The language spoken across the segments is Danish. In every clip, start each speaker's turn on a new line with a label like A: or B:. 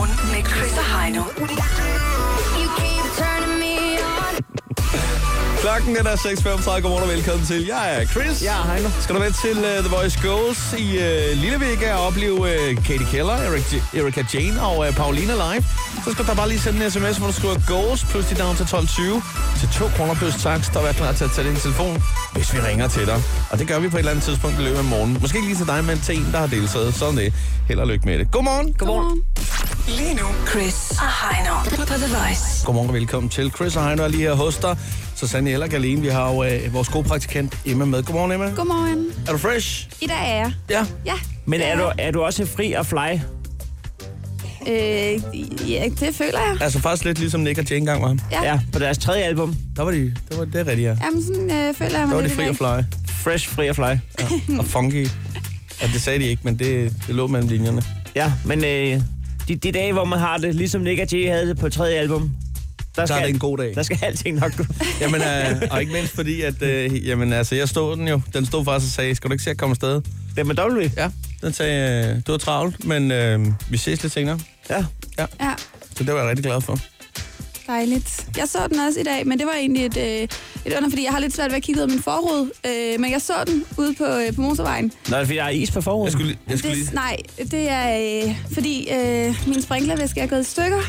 A: Chris og Heino.
B: You keep turning me on.
C: Klokken den er 6.35. Godmorgen og velkommen til. Jeg er Chris.
D: Jeg er Heino.
C: Skal du med til uh, The Voice Girls i uh, Lille Vega og opleve uh, Katie Keller, Eric J- Erika Jane og uh, Paulina live, så skal du da bare lige sende en sms, hvor du skriver goals plus dit navn til 12.20 til 2 kroner plus tax, der er klar til at tage din telefon, hvis vi ringer til dig. Og det gør vi på et eller andet tidspunkt i løbet af morgenen. Måske ikke lige til dig, men til en, der har deltaget. Sådan det. Held og lykke med det. Godmorgen.
D: Godmorgen.
A: Lige nu, Chris og Heino på The Voice.
C: Godmorgen og velkommen til. Chris og Heino er lige her hos dig. Så Sanne eller Galene, vi har jo øh, vores gode praktikant Emma med. Godmorgen, Emma.
B: Godmorgen.
C: Er du fresh?
B: I dag er jeg.
C: Ja.
B: Ja.
D: Men er du, er du også fri og fly?
B: Øh, ja, det føler jeg.
C: Altså faktisk lidt ligesom Nick og Jane engang var.
B: Ja.
D: Ja, på deres tredje album.
C: Der var de, der var det er rigtigt, ja.
B: Jamen, sådan øh, føler jeg mig
C: Der var de
B: lidt i
C: fri
B: dag.
C: og fly.
D: Fresh, fri og fly.
C: Ja. Og funky. Og det sagde de ikke, men det, det lå mellem linjerne.
D: Ja, men øh, de, de dage, hvor man har det, ligesom Nick og Jay havde det på tredje album, der
C: det en god dag.
D: Der skal alting nok gå.
C: Jamen, øh, og ikke mindst fordi, at øh, jamen, altså, jeg stod den jo. Den stod faktisk og sagde, skal du ikke se at komme afsted?
D: Det er med W.
C: Ja. Den sagde, øh, du er travlt, men øh, vi ses lidt senere.
D: Ja.
E: Ja,
C: Så det var jeg rigtig glad for.
E: dejligt. Jeg så den også i dag, men det var egentlig et, øh, et under, fordi jeg har lidt svært ved at kigge ud af min forrude. Øh, men jeg så den ude på, øh, på motorvejen.
D: Nå, det er fordi, der er is på forhånden.
C: Jeg skulle, lige- jeg skulle
E: Oh. Det,
C: lige...
E: nej, det er øh, fordi øh, min sprinklervæske er gået i stykker.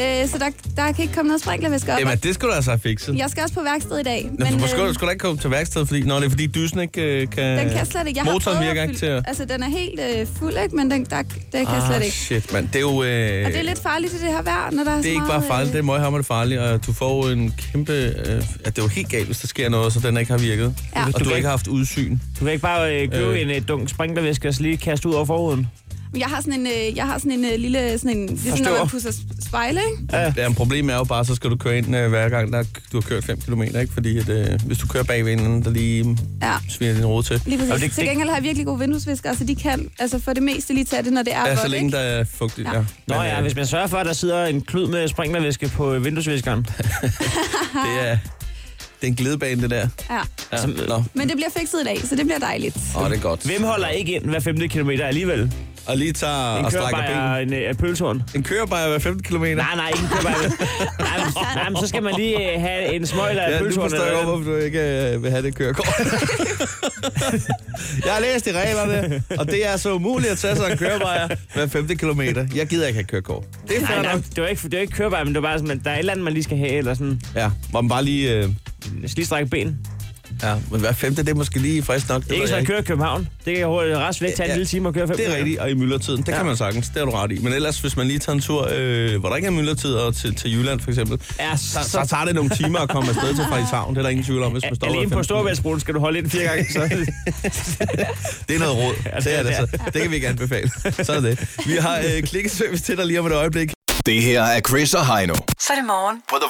E: Øh, så der, der kan ikke komme noget sprinklervæske op.
C: Emma, det skulle du altså have fikset.
E: Jeg skal også på værksted i dag.
C: Nå, men, du
E: øh,
C: skulle, skulle da ikke komme til værkstedet, fordi, nå, det er fordi dysen ikke øh, kan...
E: den kan slet ikke. Jeg
C: motoren
E: har prøvet
C: virker
E: at
C: ikke til
E: fylde-
C: at...
E: Altså, den er helt øh, fuld, ikke? men den, der, det kan jeg slet
C: Ah,
E: ikke.
C: shit, mand. Det er jo... Øh,
E: Og det er lidt farligt i det her vejr, når der er øh,
C: Det er ikke bare farligt, det er møghammerende farligt, og du får jo en kæmpe... Øh, at det er jo helt galt, hvis der sker noget, så den ikke har virket.
E: Ja.
C: Og
D: Du
C: du
D: kan
C: ikke har haft udsyn.
D: Du kan ikke bare øh, købe
C: Øh.
D: øh. en øh, dunk sprinklervæske og så lige kaste ud over forhuden.
E: Jeg har sådan en, øh, jeg har sådan en øh, lille, sådan en, det er sådan,
D: Forstår.
E: når man pudser s- spejle, ikke?
D: Ja.
C: Ja, men problemet er jo bare, så skal du køre ind øh, hver gang, der, du har kørt 5 km, ikke? Fordi at, øh, hvis du kører bagved inden, der lige
E: Ja.
C: sviner din rode til.
E: Lige præcis.
D: Og
E: Det,
D: det-
E: det, til
D: det-
E: gengæld har jeg virkelig gode vinduesviskere, så de kan altså for det meste lige tage det, når det er
C: Ja, så
E: vådt,
C: længe
E: ikke?
C: der er fugtigt, ja.
E: Ja.
C: ja.
D: Nå
C: Men,
D: ja,
C: øh,
D: hvis man sørger for, at der sidder en klud med sprinklervæske på øh, vinduesviskeren.
C: det, er, det er en glidebane, det der.
E: Ja.
C: Ja.
D: Som-
C: Nå,
E: Men det bliver fikset i dag, så det bliver dejligt.
C: Åh, det er godt.
D: Hvem holder ikke ind hver femte kilometer alligevel?
C: Og lige tager
D: En
C: og strækker
D: kører
C: ben.
D: en øh, pølsehorn.
C: En kører bare hver 15 km.
D: Nej, nej, ikke en køber. nej, men, nej, men så skal man lige øh, have en smøg eller
C: Ja,
D: ja,
C: nu
D: pølsehorn.
C: forstår jeg godt,
D: eller-
C: hvorfor du ikke øh, vil have det kørekort. jeg har læst i reglerne, og det er så umuligt at tage sig en kørevejer hver 50 kilometer. Jeg gider ikke have kørekort. Det er
D: Nej,
C: fair
D: nej,
C: nok.
D: det var ikke, det var ikke kørebar, men det var bare sådan, at der er et eller andet, man lige skal have, eller sådan,
C: Ja, må man bare lige... Øh,
D: lige strække ben.
C: ja, men hver femte, det er måske lige frisk nok. Det, ved
D: Ikke så
C: jeg
D: at køre i København. Det kan hurtigt rest væk tage
C: Ja,
D: en lille time og køre fem
C: det er
D: minutter.
C: rigtigt, og i myldretiden, det ja.
D: Ja.
C: kan man sagtens, det har du ret i. Men ellers, hvis man lige tager en tur, øh, hvor der ikke er myldretid, og til, til Jylland for eksempel,
D: Ja,
C: så,
D: så-
C: så, tager det nogle timer at komme afsted til Frederikshavn. Det er der ingen tvivl om, hvis man står
D: Alene
C: hver
D: på
C: 15.
D: Storvældsbroen skal du holde ind fire gange. Så.
C: Det er noget råd. det er det, så. det kan vi ikke anbefale. Så er det. Vi har øh, klikkeservice til dig lige om et øjeblik.
F: Det her er Chris og Heino
A: Så er det morgen.
F: på The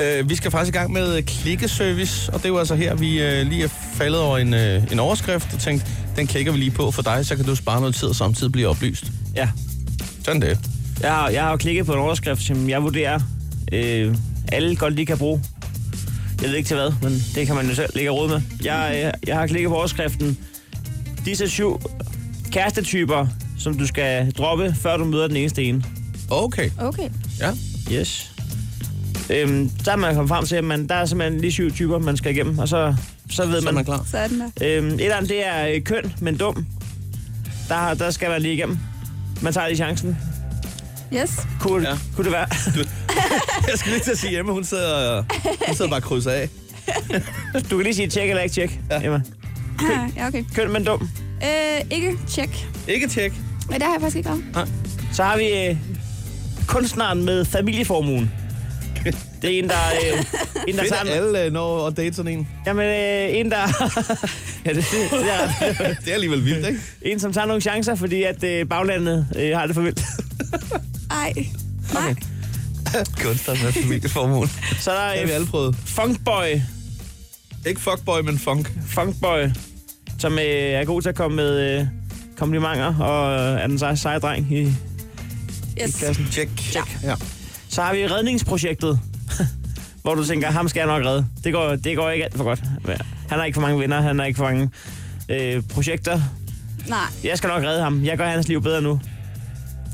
F: Voice.
C: Øh, vi skal faktisk i gang med øh, klikkeservice, og det er jo altså her, vi øh, lige er faldet over en, øh, en overskrift og tænkt, den klikker vi lige på for dig, så kan du spare noget tid og samtidig blive oplyst.
D: Ja.
C: Sådan det.
D: Jeg har, jeg har jo klikket på en overskrift, som jeg vurderer, øh, alle godt lige kan bruge. Jeg ved ikke til hvad, men det kan man jo selv ligge og rode med. Jeg, øh, jeg har klikket på overskriften. Disse syv kærestetyper, som du skal droppe, før du møder den eneste ene.
C: Okay,
E: Okay.
C: ja.
D: Yes. Øhm, der er man kommet frem til, at man, der er simpelthen lige syv typer, man skal igennem, og så, så ved
C: Så er man
D: man.
C: klar.
E: Så er den der.
D: Øhm, et af dem, det er øh, køn, men dum. Der, der skal man lige igennem. Man tager lige chancen.
E: Yes.
D: Kunne,
C: Ja.
D: ja. kunne det være?
C: Jeg skal lige til at sige, Emma, hun sidder, hun sidder bare og krydser af.
D: Du kan lige sige tjek eller ikke tjek, ja. Emma.
E: Ja, okay.
D: Køn, men dum.
E: Øh, ikke check.
C: Ikke tjek.
E: Men det har jeg faktisk ikke lavet.
D: Så har vi øh, kunstneren med familieformuen. Det er en, der... Øh, en, der
C: Fedt, at
D: tager,
C: alle øh, når at date sådan en.
D: jamen, øh, en, der... ja, det, det, det er,
C: Det er alligevel vildt, ikke?
D: en, som tager nogle chancer, fordi at øh, baglandet øh, har det for vildt.
E: Ej. Nej. Okay.
C: Kunstner med familieformuen.
D: Så er
C: Det
D: der
C: har vi
D: øh,
C: alle prøvet.
D: Funkboy.
C: Ikke fuckboy, men funk.
D: Funkboy, som øh, er god til at komme med øh, komplimenter og øh, er den seje, seje dreng. I.
E: Yes.
C: Tjek.
E: Ja.
C: ja.
D: Så har vi redningsprojektet, hvor du tænker, ham skal jeg nok redde. Det går, det går ikke alt for godt. Han har ikke for mange venner, han har ikke for mange øh, projekter.
E: Nej.
D: Jeg skal nok redde ham. Jeg gør hans liv bedre nu.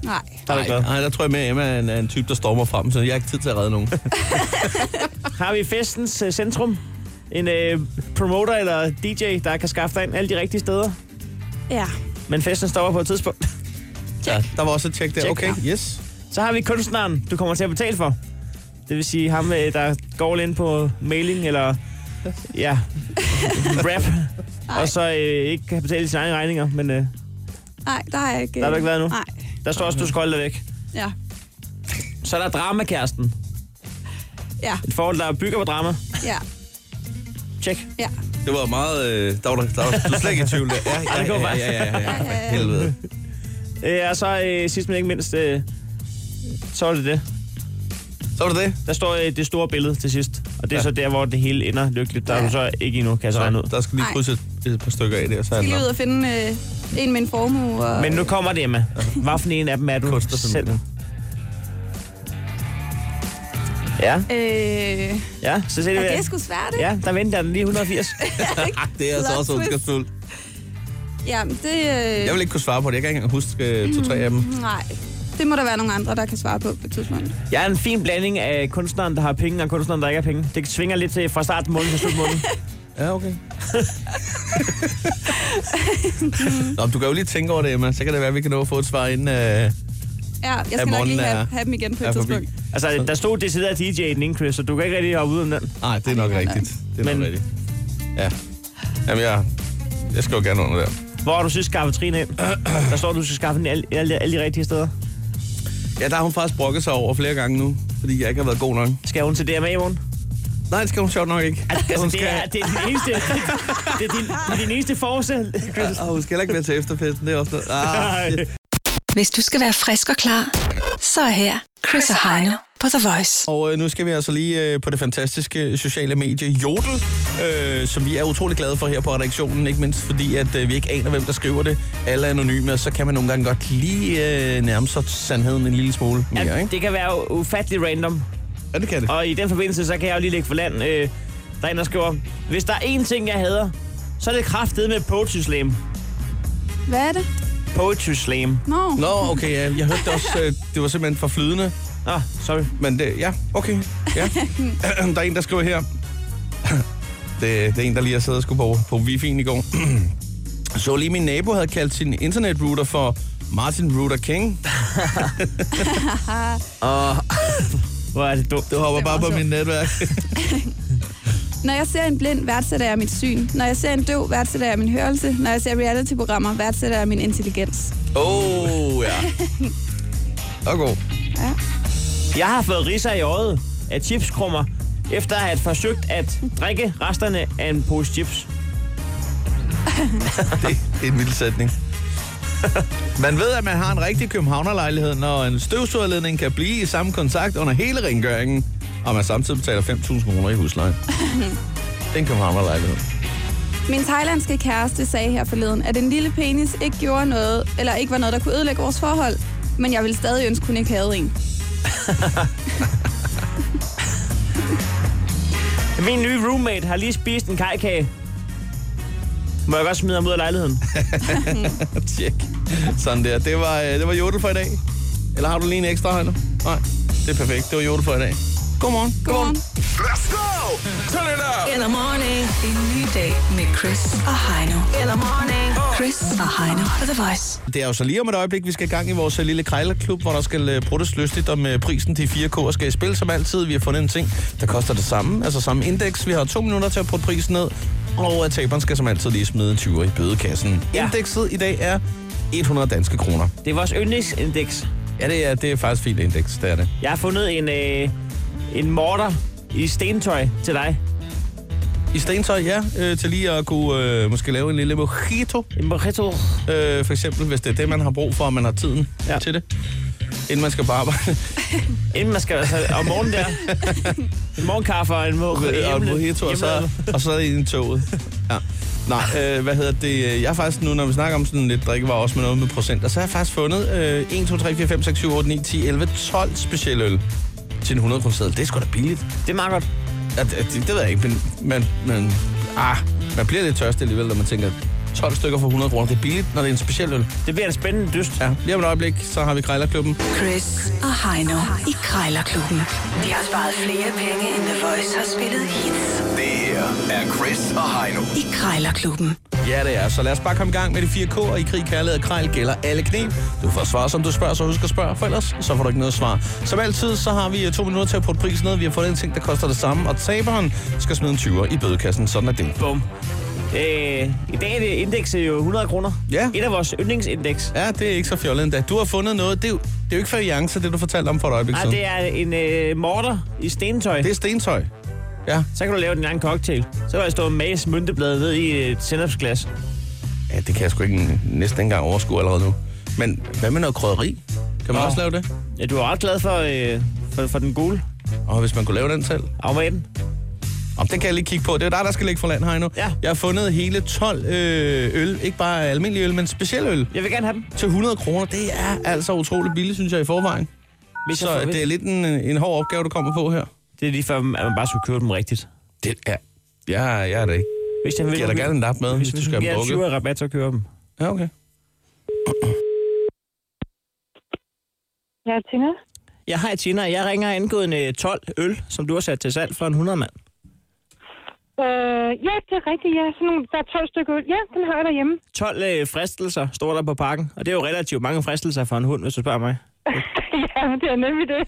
E: Nej.
D: Der Har du ikke været?
C: Nej, der tror jeg med, at Emma er en, er en type, der stormer frem, så jeg har ikke tid til at redde nogen.
D: Har vi festens øh, centrum? En øh, promoter eller DJ, der kan skaffe dig ind alle de rigtige steder?
E: Ja.
D: Men festen stopper på et tidspunkt.
C: Ja, der var også et tjek der.
D: Check.
C: Okay, yes.
D: Så har vi kunstneren, du kommer til at betale for. Det vil sige ham, øh, der går ind på mailing eller ja, rap. Og så øh, ikke kan betale sine egne regninger, men øh,
E: Nej, der har jeg ikke...
D: Der har du ikke været endnu?
E: Nej.
D: der står også, du skal holde dig væk.
E: Ja.
D: Så er der dramakæresten.
E: Ja.
D: Et forhold, der bygger på drama.
E: Ja.
D: Tjek.
E: Ja.
C: Det var meget... Øh, der var, der, der var du slet ikke i tvivl. der. Ja,
D: det går
C: ja, ja,
D: bare.
C: ja, ja, ja, ja,
E: ja, ja.
C: Helvede.
D: Øh, og så øh, sidst men ikke mindst, øh, så er det det.
C: Så var det det.
D: Der står øh, det store billede til sidst. Og
C: Ja.
D: det er ja. så der, hvor det hele ender lykkeligt. Der er
E: Ja.
D: du så ikke endnu, kan jeg så regne ud.
C: Der skal lige
E: Nej.
C: krydse et, et par stykker af der, så er
E: Skal
C: den
E: lige ud
C: der.
E: og finde øh, en med en formue. Og...
D: Men nu kommer det, Emma. Hvad for en af dem er du selv?
C: Kunstnerfamilien.
D: Ja,
E: Øh,
D: ja. Så ser
E: ja,
D: det,
E: det er sgu svært, ikke?
D: Ja, der venter den lige 180.
C: Ah, det er altså
E: Plot
C: også
E: twist.
C: ondskabsfuldt.
E: Jamen, det... Øh,
C: Jeg vil ikke kunne svare på det. Jeg kan ikke engang huske øh, to-tre
D: Mm.
C: af dem.
E: Nej, det må der være nogle andre, der kan svare på på et tidspunkt.
D: Jeg er en fin blanding af kunstneren, der har penge, og kunstneren, der ikke har penge. Det svinger lidt til fra start måned til slut måned.
C: Ja, okay. Nå, men du kan jo lige tænke over det, Emma. Så kan det være, at vi kan nå at få et svar inden... Øh,
E: Ja, jeg skal nok
C: morgenen
E: lige
C: er-
E: have, have dem igen på
C: er
E: et
C: forbi.
E: tidspunkt.
D: Altså, der stod decideret DJ i den ene, Chris, så du kan ikke rigtig hoppe ud om den.
C: Nej, det er nok rigtigt. Det er
D: Men-
C: nok rigtigt. Ja. Jamen, jeg, jeg skal jo gerne under der.
D: Hvor har du sidst skaffet Trine ind? Der står, du skal skaffe den i alle, alle, alle de rigtige steder.
C: Ja, der har hun faktisk brokket sig over flere gange nu, fordi jeg ikke har været god nok.
D: Skal hun til DMA i morgen?
C: Nej, det skal hun sjovt nok ikke.
D: Altså,
C: hun
D: det, er, det er din eneste, det er din, det er din eneste
C: Ah,
D: force. Chris.
C: Og hun skal heller ikke være til efterfesten, det er også noget. Ah, shit.
A: Hvis du skal være frisk og klar, så er her Chris og Heino på The Voice.
C: Og øh, nu skal vi altså lige øh, på det fantastiske sociale medie Jodel, øh, som vi er utrolig glade for her på redaktionen, ikke mindst fordi, at øh, vi ikke aner, hvem der skriver det. Alle er anonyme, og så kan man nogle gange godt lige øh, nærme sig sandheden en lille smule mere,
D: Ja,
C: ikke?
D: det kan være u- ufattelig random.
C: Ja, det kan det.
D: Og i den forbindelse, så kan jeg jo lige lægge for land. Øh, der er en, der skriver, hvis der er én ting, jeg hader, så er det kraftet med poetry slam.
E: Hvad er det?
D: Poetry slam.
E: Nå, Nå.
C: Nå, okay, ja, jeg hørte det også, øh, det var simpelthen for flydende,
D: Nå, sorry.
C: men det, ja, okay, ja. der er en, der skriver her, det, det er en, der lige har siddet og skulle på, på wifi'en i går. Så lige min nabo havde kaldt sin internetrouter for Martin Router King.
D: Hvor er det dumt.
C: Du hopper
E: Det var
C: bare på
E: sjovt.
C: mit netværk.
E: når jeg ser en blind, værdsætter jeg mit syn. Når jeg ser en døv, værdsætter jeg min hørelse. Når jeg ser reality-programmer, værdsætter jeg min intelligens.
C: Åh, oh, ja. Og god.
D: Jeg har fået riser i øjet af chipskrummer, efter at have forsøgt at drikke resterne af en pose chips.
C: Det er en vild sætning. Man ved, at man har en rigtig københavnerlejlighed, når en støvsugerledning kan blive i samme kontakt under hele rengøringen, og man samtidig betaler 5.000 kroner i husleje. Det er en københavnerlejlighed.
E: Min thailandske kæreste sagde her forleden, at en lille penis ikke gjorde noget, eller ikke var noget, der kunne ødelægge vores forhold. Men jeg ville stadig ønske, hun ikke havde en.
D: Min nye roommate har lige spist en kajkage. Må jeg godt smide ham ud af lejligheden?
C: Tjek. Sådan der. Det var, øh, det var jodel for i dag. Eller har du lige en ekstra her nu? Nej, det er perfekt. Det var jodel for i dag. Godmorgen.
E: Godmorgen.
A: Eller morning. En ny dag med Chris og Heino. Eller morning. Chris og Heino på The Voice.
C: Det er jo så lige om et øjeblik, vi skal i gang i vores øh, lille krejlerklub, hvor der skal øh, bruttes lystigt om øh, prisen til 4K og skal i spil som altid. Vi har fundet en ting, der koster det samme, altså samme indeks. Vi har to minutter til at putte prisen ned, og øh, taberen skal som altid lige smide en 20 i bødekassen. Ja.
D: Ja.
C: Indekset i dag er 100 danske kroner.
D: Det er vores yndlingsindeks.
C: Ja, det er, det er faktisk fint indeks, det er det.
D: Jeg har fundet en, øh, en morter i stentøj til dig.
C: I stentøj, ja, øh, til lige at kunne øh, måske lave en lille mojito,
D: En mojito.
C: øh, for eksempel, hvis det er det, man har brug for, og man har tiden ja.
D: Ja.
C: til det, inden man skal på arbejde.
D: Inden man skal, altså, om morgenen der. En morgenkaffe og en mo-
C: og en
D: hjemle-
C: mojito, og så,
D: hjemmelavet.
C: og så ind i toget. Ja. Nej, øh, hvad hedder det? Jeg har faktisk nu, når vi snakker om sådan lidt drikkevarer, også med noget med procenter, så har jeg faktisk fundet øh, 1, 2, 3, 4, 5, 6, 7, 8, 9, 10, 11, 12 specielle øl til en 100 kroner seddel. Det er sgu da billigt.
D: Det er meget godt.
C: Ja, det, det, det ved jeg ikke, men, men, men ah, man bliver lidt tørst alligevel, når man tænker, 12 stykker for 100 kroner. Det er billigt, når det er en speciel øl.
D: Det bliver en spændende dyst.
C: Ja, lige om et øjeblik, så har vi Krejlerklubben.
A: Chris og Heino i Krejlerklubben. De har sparet flere penge, end The Voice har spillet hits
F: Det her er Chris og Heino.
A: i Krejlerklubben.
C: Ja, det er. Så lad os bare komme i gang med de fire K'er i krig, kærlighed og krejl gælder alle knep. Du får svar, som du spørger, så husk at spørge, for ellers så får du ikke noget svar. Som altid, så har vi øh, to minutter til at putte prisen ned. Vi har fået en ting, der koster det samme, og taberen skal smide en 20'er i bødekassen. Sådan er det.
D: Bum. Øh, I dag er det indekset jo 100 kroner.
C: Ja.
D: Et af vores yndlingsindeks.
C: Ja, det er ikke så fjollet endda. Du har fundet noget. Det er jo, det er jo ikke feriance, det du fortalte om for et øjeblik
D: Nej,
C: siden.
D: Ah, det er en øh, morter i stentøj.
C: det
D: Det.
C: er stentøj. Ja.
D: Så kan du lave din egen cocktail. Så kan jeg stå og mase mynteblade ned i et sennepsglas.
C: ja, det kan jeg sgu ikke næsten ikke engang overskue allerede nu. Men hvad med noget krydderi? Kan man
D: Nå.
C: også lave det?
D: Ja, du er ret glad for, øh, for, for den gule
C: Og hvis man kunne lave den selv?
D: afmaten.
C: Om den kan jeg lige kigge på. Det er dig, der skal ligge for land her nu.
D: Ja.
C: Jeg har fundet hele 12 øh, øl. Ikke bare almindelig øl, men speciel øl.
D: Jeg vil gerne have dem.
C: Til 100 kroner. Det er altså utroligt billigt, synes jeg, i forvejen.
D: Hvis jeg
C: Så
D: får,
C: det er
D: det...
C: lidt en, øh, en hård opgave, du kommer på her.
D: det er lige før, at man bare skulle købe dem rigtigt.
C: Det er... Ja, jeg er det ikke.
D: Hvis jeg vil,
C: Giver dig gerne en lap med, hvis du skal have
D: have
C: dem
D: dem
C: drukket.
D: drukket. rabat, så kører jeg dem.
C: Ja, okay.
G: Ja, Tina.
D: Ja, hej Tina. Jeg ringer angående 12 øl, som du har sat til salg for en 100 mand.
G: Øh, ja, det er rigtigt, ja. Sådan nogle, der er 12 stykker øl. Ja, den har jeg derhjemme.
D: 12 øh, fristelser står der på pakken, og det er jo relativt mange fristelser for en hund, hvis du spørger mig.
G: ja, det er nemlig det.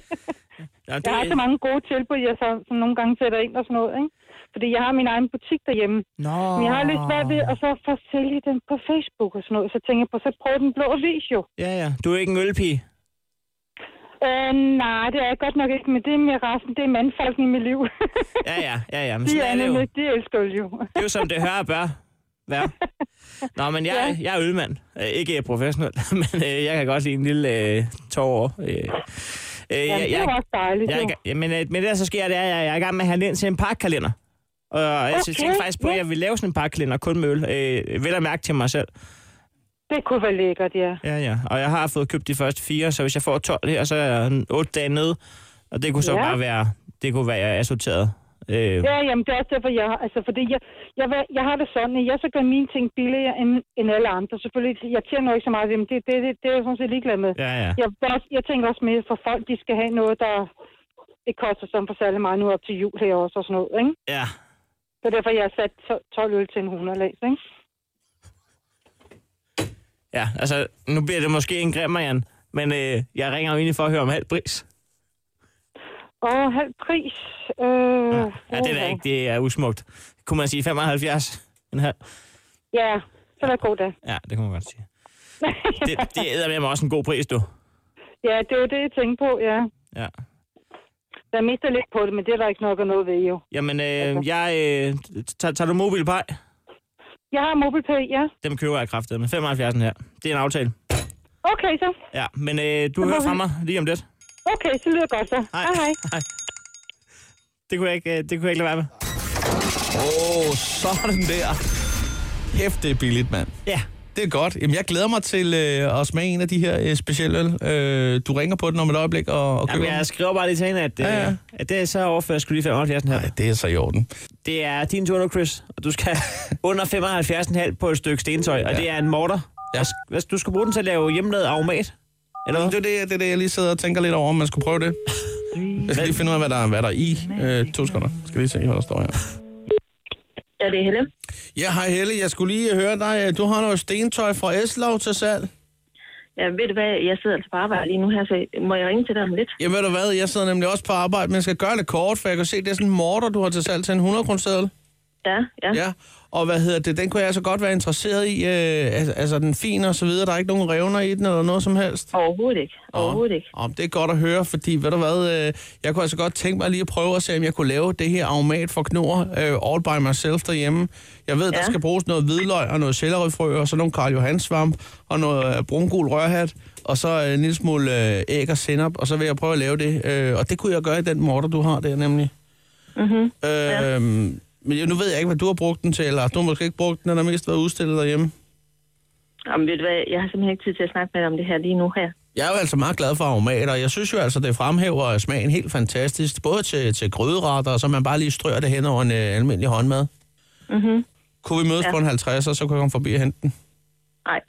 D: Ja, det,
G: Jeg har så mange gode tilbud, jeg så, som nogle gange sætter ind og sådan noget, ikke? Fordi jeg har min egen butik derhjemme.
D: Nå.
G: Men jeg har lidt svært ved at så få sælge den på Facebook og sådan noget. Så tænker jeg på, så prøv den blå avis jo.
D: Ja, ja. Du er ikke en ølpige.
G: Øh, nej, det er jeg godt nok ikke, men det er mere resten. Det er mandfolken i mit liv.
D: Ja, ja, ja, ja. Men
G: de
D: sådan er
G: er
D: det jo.
G: nemlig,
D: Det
G: de elsker øl jo.
D: er jo som det hører og bør være. Nå, men jeg, jeg er ølmand. Øh, Ikke øh, professionel, men øh, jeg kan godt lide en lille øh, tårer. Øh, øh,
G: Ja,
D: jeg,
G: det er jo
D: jeg,
G: også dejligt.
D: jeg,
G: jo.
D: jeg, men, øh, men det der så sker, det er, at jeg, jeg er i gang med at handle ind til en pakkalender. Og jeg okay,
G: Okay,
D: tænkte faktisk på, at
G: ja.
D: jeg vil lave sådan en pakkalender kun med øl. Øh, vel at mærke til mig selv.
G: Det kunne være lækkert, ja.
D: Ja, ja. Og jeg har fået købt de første fire, så hvis jeg får 12 her, så er jeg 8 dage nede. Og det kunne så ja.
G: Ja.
D: bare være, det kunne være, jeg er sorteret. Øh, ja.
G: Ja, jamen det er også derfor, jeg, har- altså, fordi jeg, jeg, vil- jeg har det sådan, at jeg så gør mine ting billigere end, end alle andre. Selvfølgelig, jeg tjener jo ikke så meget, men det, det, det, det er jeg sådan set ligeglad med.
D: ja, ja.
G: Jeg, vil også, jeg tænker også mere, for folk, de skal have noget, der det koster som for særlig meget nu op til jul her også og sådan noget, ikke?
D: ja.
G: Så derfor, jeg har sat to- 12 øl til en 100 læs, ikke?
D: Ja, altså, nu bliver det måske en grim, Marianne, men øh, jeg ringer jo egentlig for at høre om halv pris.
G: Og halv pris. Øh,
D: Ja, ja det er da
G: uha.
D: ikke, det er usmukt. Kunne man sige 75? En halv?
G: Ja, så lad god dag.
D: Ja, det kunne man godt sige. Det, det er med også en god pris, du.
G: Ja, det er jo det, jeg tænkte på, ja.
D: Ja.
G: Jeg mister lidt på det, men det er der ikke nok at noget ved, jo.
D: Jamen, øh, jeg, øh, tager, tager du mobilpej?
G: Jeg har MobilePay, ja.
D: Dem køber jeg kraftet med 75 her. Det er en aftale.
G: Okay, så.
D: Ja, men øh, du hører fra mig lige om lidt.
G: Okay, så lyder det godt så.
D: Hej.
G: Hej. hej.
D: Det kunne jeg ikke, øh, det kunne jeg ikke lade være med.
C: Åh, oh, sådan der. Hæft, det er billigt, mand.
D: Ja.
C: Det er godt. Jamen, jeg glæder mig til øh, at smage en af de her øh, specielle øl. Øh, du ringer på den om et øjeblik og, og køber
D: Jamen, jeg
C: den.
D: skriver bare lige til hende, at, øh,
C: Ja,
D: ja,
C: ja.
D: ja. at det er så overført, skulle lige 75 her.
C: Ej, det er så i orden.
D: Det er din tur nu, Chris, og du skal under 75,5 på et stykke stentøj, og
C: Ja.
D: det er en morter.
C: Ja.
D: Hvad- Du skal bruge den til at lave hjemmelavet aromat. Eller
C: Jamen,
D: hvad?
C: det, er det, det er det, jeg lige sidder og tænker lidt over, om man skulle prøve det. Jeg skal lige finde ud af, hvad der, er- hvad der er i. Øh, to sekunder. Jeg skal lige se, hvad der står her.
H: Ja, det er Helle.
C: Ja, hej Helle. Jeg skulle lige høre dig. øh, Du har noget stentøj fra Eslov til salg.
H: Ja, ved du hvad, jeg sidder altså på arbejde lige nu her, så må jeg ringe til dig om lidt?
C: Jamen, ved du hvad? Jeg sidder nemlig også på arbejde, men jeg skal gøre det kort, for jeg kan se, det er sådan en morter, du har til salg til en 100 kroner
H: Ja, ja.
C: Ja, og hvad hedder det, den kunne jeg altså godt være interesseret i, øh, altså, altså den er fin og så videre, der er ikke nogen revner i den eller noget som helst.
H: Overhovedet ikke. Overhovedet ikke.
C: Om det er godt at høre, fordi ved du hvad, øh, jeg kunne altså godt tænke mig lige at prøve at se, om jeg kunne lave det her aromat for knor øh, all by myself derhjemme. Jeg ved, ja. der
H: Ja.
C: skal bruges noget hvidløg og noget sellerifrø og så nogle Karl Johan svamp og noget øh, brungul rørhat og så øh, en lille smule øh, æg og sennep, og så vil jeg prøve at lave det. Øh, og det kunne jeg gøre i den morter, du har der nemlig. Mm-hmm. Øh, Men jeg- nu ved jeg ikke, hvad du har brugt den til, eller du har måske ikke brugt den, den har mest været udstillet derhjemme.
H: Jamen, ved du hvad, jeg har simpelthen ikke tid til at snakke med dig om det her lige nu her.
C: Jeg er jo altså meget glad for aromater. Jeg synes jo altså, det fremhæver smagen helt fantastisk. Både til, til gryderetter, og så man bare lige strør det hen over en øh, almindelig håndmad. Mm-hmm. Kunne vi mødes ja.
I: Ja.
C: på en 50, og så kunne jeg komme forbi og hente den?
I: Nej.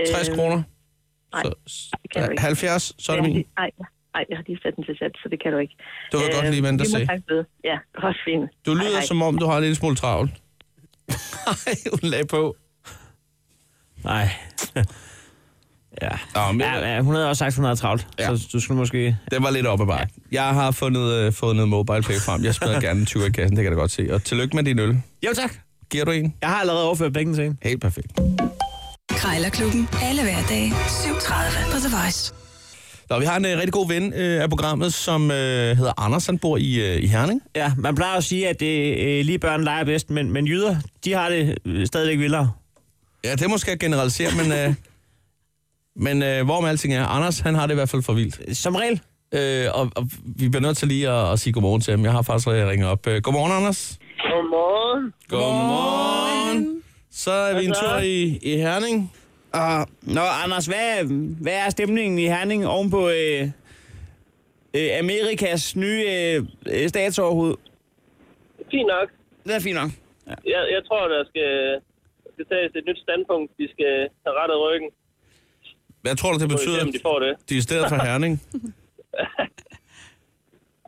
I: Øh,
C: 60 kroner?
I: nej,
C: så,
I: det kan du ikke.
C: 70, så er det
I: jeg har
C: min.
I: lige- Nej, nej, jeg har lige sat den til sat, så det kan du ikke.
C: Du kan
H: Øh,
C: godt lige vente og
I: vi må
C: se.
I: snakke ved. Ja, også fint.
C: Du
I: Hej,
C: lyder
I: hej.
C: som om, du har en lille smule travlt. Nej, hun lagde på.
D: Nej. ja.
C: Nå, men-
D: ja, ja, hun havde også sagt, hun havde travlt.
C: Ja.
D: Ja. Så du skulle måske...
C: Den var lidt op ad bakken. Jeg har fundet, øh, fået noget mobile pay frem. Jeg smider gerne en 20 i kassen, det kan jeg da godt se. Og tillykke med din øl.
D: Jo tak.
C: Giver du en?
D: Jeg har allerede overført pengene til hende.
C: Helt perfekt.
A: Krejlerklubben. Alle hverdage 7.30 på The Voice.
C: Nå, vi har en øh, rigtig god ven øh, af programmet, som øh, hedder Anders. Han bor i, øh, i Herning.
D: Ja, man plejer at sige, at det, øh, lige børn leger bedst, men, men jyder, de har det øh, stadigvæk vildere.
C: Ja, det er måske at generalisere, men, øh, men øh, hvorom alting er, Anders han har det i hvert fald for vildt.
D: Som regel.
C: Øh, og, og vi bliver nødt til lige at, at sige godmorgen til ham. Jeg har faktisk øh, ringet op. Øh, godmorgen, Anders.
J: Godmorgen.
C: Godmorgen. Så er vi en tur i, i Herning.
D: Og, nå, Anders, hvad, hvad er stemningen i Herning ovenpå øh, øh, Amerikas nye øh, øh, statsoverhoved?
J: Fint nok.
D: Det er fint nok. Ja.
J: Jeg, jeg tror, der skal, skal tages et nyt standpunkt. De skal have rettet ryggen.
C: Hvad tror du, det
J: Så vi ser,
C: betyder?
J: om de får det.
C: De er stedet for Herning.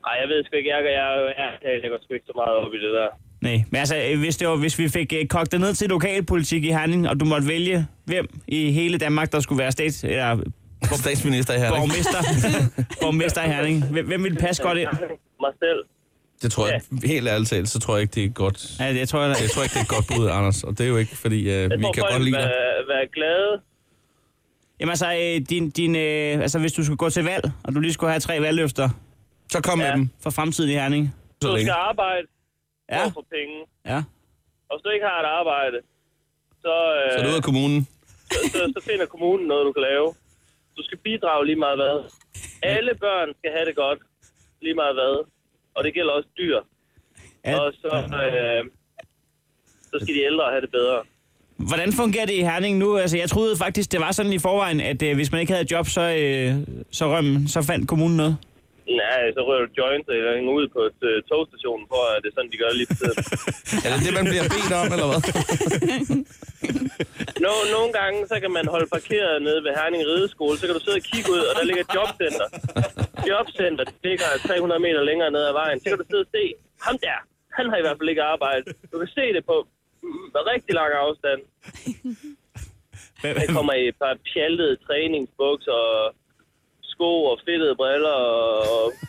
J: Ej, jeg ved sgu ikke. Jeg, jeg, jeg, jeg, jeg går sgu ikke så meget op i det der.
D: Nej, men altså, øh, hvis, det var, hvis vi fik øh, kogt det ned til lokalpolitik i Herning, og du måtte vælge, hvem i hele Danmark, der skulle være stats, eller
C: Statsminister i Herning.
D: borgmester, borgmester i Herning, hvem, hvem ville passe godt ind?
J: Mig selv.
C: Det tror jeg, helt ærligt talt, så tror jeg ikke, det er et godt.
D: Ja, det tror jeg,
C: Jeg
D: da-
C: tror ikke, det er et godt bud, Anders. Og det er jo ikke, fordi øh,
J: Jeg
C: vi
J: tror,
C: kan
J: folk
C: godt lide dig.
J: være, være glade.
D: Jamen altså, øh, din, din, øh, altså, hvis du skulle gå til valg, og du lige skulle have tre valgløfter
C: Så kom med
J: Ja.
C: dem.
D: for fremtiden i Herning.
J: Du
C: Så længe.
J: skal arbejde ja.
D: Ja,
J: for penge.
D: ja.
J: Og hvis du ikke har et arbejde, så, øh,
C: Så er du ud af kommunen.
J: så, så finder kommunen noget, du kan lave. Du skal bidrage lige meget hvad. Alle børn skal have det godt. Lige meget hvad. Og det gælder også dyr.
D: Ja.
J: Og så, øh, så skal de ældre have det bedre.
D: Hvordan fungerer det i Herning nu? Altså, jeg troede faktisk, det var sådan i forvejen, at øh, hvis man ikke havde job, så, øh, så, røm, så fandt kommunen noget.
J: Nej, så rører du joint eller hænger ud på et øh, togstation, for at det er sådan, de gør lige for tiden.
C: Er det det, man bliver bedt om, eller hvad?
J: Nå, nogle gange, så kan man holde parkeret nede ved Herning Rideskole, så kan du sidde og kigge ud, og der ligger et jobcenter. Jobcenter det ligger 300 meter længere ned ad vejen. Så kan du sidde og se, ham der, han har i hvert fald ikke arbejdet. Du kan se det på mm, rigtig lang afstand. Der kommer i et par pjaltede træningsbukser og sko og fedtede briller, og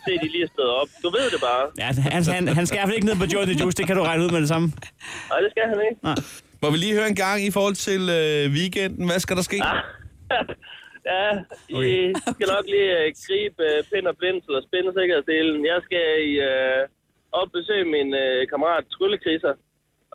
J: se, de lige er stået op. Du ved det bare.
D: Ja, han, han, han skal i hvert fald ikke ned på Joe the Juice, det kan du regne ud med det samme.
J: Nej, det skal han ikke.
C: Må vi lige høre en gang i forhold til øh, weekenden? Hvad skal der ske?
J: Ja, I skal nok lige øh, gribe øh, pind og blindsel og spænde sikkerhedsdelen. Jeg skal i, øh, op besøge min øh, kammerat Tryllekriser,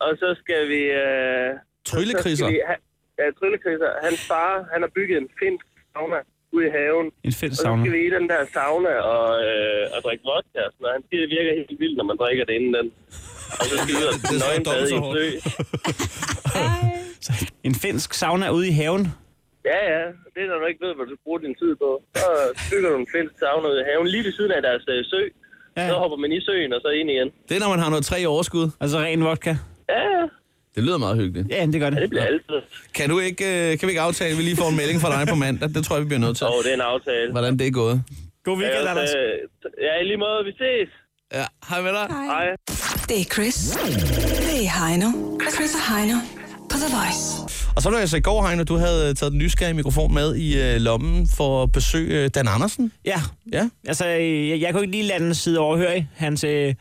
J: og så skal vi... Øh,
C: Tryllekriser?
J: så skal vi ha- ja, Tryllekriser. Hans far, han har bygget en finsk sauna ude i haven.
D: En fed
J: Og så
D: sauna.
J: skal vi i den der sauna og, øh, og drikke vodka og sådan noget. Han siger, det virker helt vildt, når man drikker det inden den. Og så skal vi ud og
C: Det er så
J: nøgenbade i en
C: dumt, så
J: sø.
D: En finsk sauna ude i haven.
J: Ja, ja. Det er, når du ikke ved, hvad du bruger din tid på. Så bygger du en finsk sauna ude i haven, lige ved siden af deres øh, sø.
D: Ja.
J: Så hopper man i søen, og så ind igen.
C: Det er, når man har noget tre i overskud.
D: Altså ren vodka.
J: Ja, ja.
C: Det lyder meget hyggeligt.
D: Ja, det gør
J: Ja,
D: det.
J: det bliver altid.
C: Kan, du ikke, øh, kan vi ikke aftale, at vi lige får en melding fra dig på mandag? Det tror jeg, vi bliver nødt til.
J: Åh, det er en aftale.
C: Hvordan det er gået.
D: God weekend,
J: Ja,
D: Anders.
J: øh, ja, i lige måde. Vi ses.
C: Ja, hej med dig.
J: Hej.
A: Det er Chris. Det er Heino. Chris og Heino på The Voice.
C: Og så var det altså i går, Heino, du havde øh, taget den nysgerrige mikrofon med i øh, lommen for at besøge øh, Dan Andersen.
D: Ja,
C: Ja,
D: altså øh, jeg, jeg kunne ikke lige lade den sidde overhøre hans øh,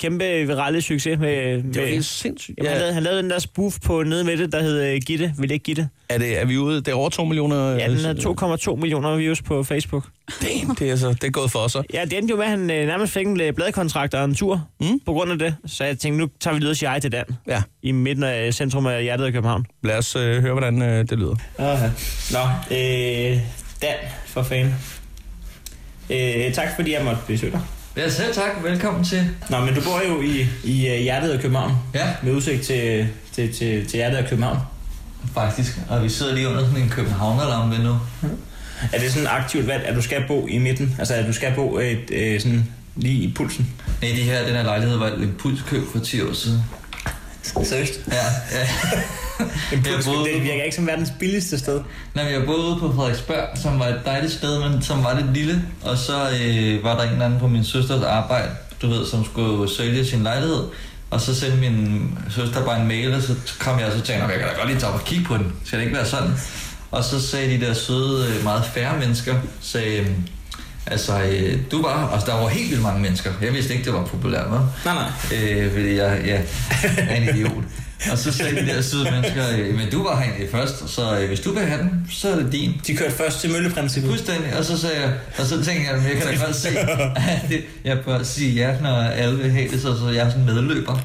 D: kæmpe virale succes med... med
C: det var helt sindssygt.
D: Jamen, han,
C: Ja.
D: lavede, han lavede den der spoof på nede med det, der hed øh, Gitte, vil ikke Gitte.
C: Er, det, er vi ude? Det er over 2 millioner? øh,
D: Ja, den havde 2,2 millioner views på Facebook.
C: Damn, det er, altså, det er gået for os. så.
D: Ja, det endte jo med, at han øh, nærmest fik en øh, bladkontrakt og en tur
C: Mm.
D: mm. på grund af det. Så jeg tænkte, nu tager vi lidt jeg til Dan
C: Ja,
D: i midten af øh, centrum af hjertet af København.
C: lad os øh, høre, hvordan øh, det lyder.
D: Aha. Nå, øh, Dan, for fanden. Øh, tak fordi jeg måtte besøge dig.
F: Ja, selv tak. Velkommen til.
D: Nå, men du bor jo i, i øh, hjertet af København.
F: Ja.
D: Med udsigt til, til, til, til hjertet af København.
F: Faktisk. Og vi sidder lige under sådan en københavnerlampe nu.
D: Er det sådan et aktivt valg, at du skal bo i midten? Altså, at du skal bo et, øh, sådan lige i pulsen?
F: Nej, det her, den her lejlighed var et impulskøb for 10 år siden.
J: Seriøst? Ja. ja.
D: Jamen, det virker ikke som verdens billigste sted.
J: Nej, men jeg boede ude på Frederiksberg, som var et dejligt sted, men som var lidt lille. Og så øh, var der en eller anden på min søsters arbejde, du ved, som skulle sælge sin lejlighed. Og så sendte min søster bare en mail, og så kom jeg og så tænkte, "Nå, jeg kan da godt lige tage op og kigge på den. Skal det ikke være sådan? Og så sagde de der søde, øh, meget færre mennesker, sagde, øh, altså, øh, du var, og der var helt vildt mange mennesker. Jeg vidste ikke, det var populært, vel?
D: Nej, nej.
J: Øh, fordi jeg, ja, er en idiot. Og så sagde de der søde mennesker, øh, men du var herinde først, så øh, hvis du vil have den, så er det din.
D: De kørte først til mølleprincippet.
J: Fuldstændig, og så sagde jeg, og så tænkte jeg, men jeg kan da godt se, at det- jeg bør sige ja, når alle vil have det, så, så jeg er sådan medløber.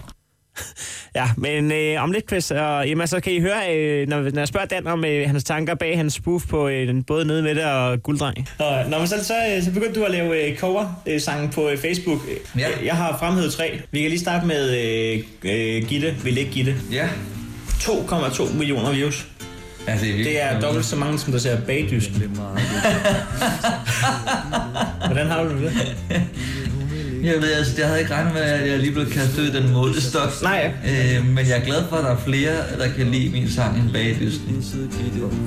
K: Ja, men øh, om lidt, Chris, og, jamen, så kan I høre, øh, når, når jeg spørger Dan om øh, hans tanker bag hans spoof på øh, den både nede med det og gulddreng.
D: Og, nå, men så, så, øh, så begyndte du at lave øh, cover-sangen på øh, Facebook. Ja. Jeg har fremhævet tre. Vi kan lige starte med øh, øh, Gitte, vil ikke Gitte.
J: Ja.
D: 2,2 millioner views.
J: Ja, det, er
D: det er dobbelt så mange, som der ser bagdysten. Hvordan har du det med det?
J: Jeg ved, altså, jeg havde ikke regnet med, at jeg lige blev kastet ud i den målestok. Nej. Øh, men jeg er glad for, at der er flere, der kan lide min sang end bagdysten.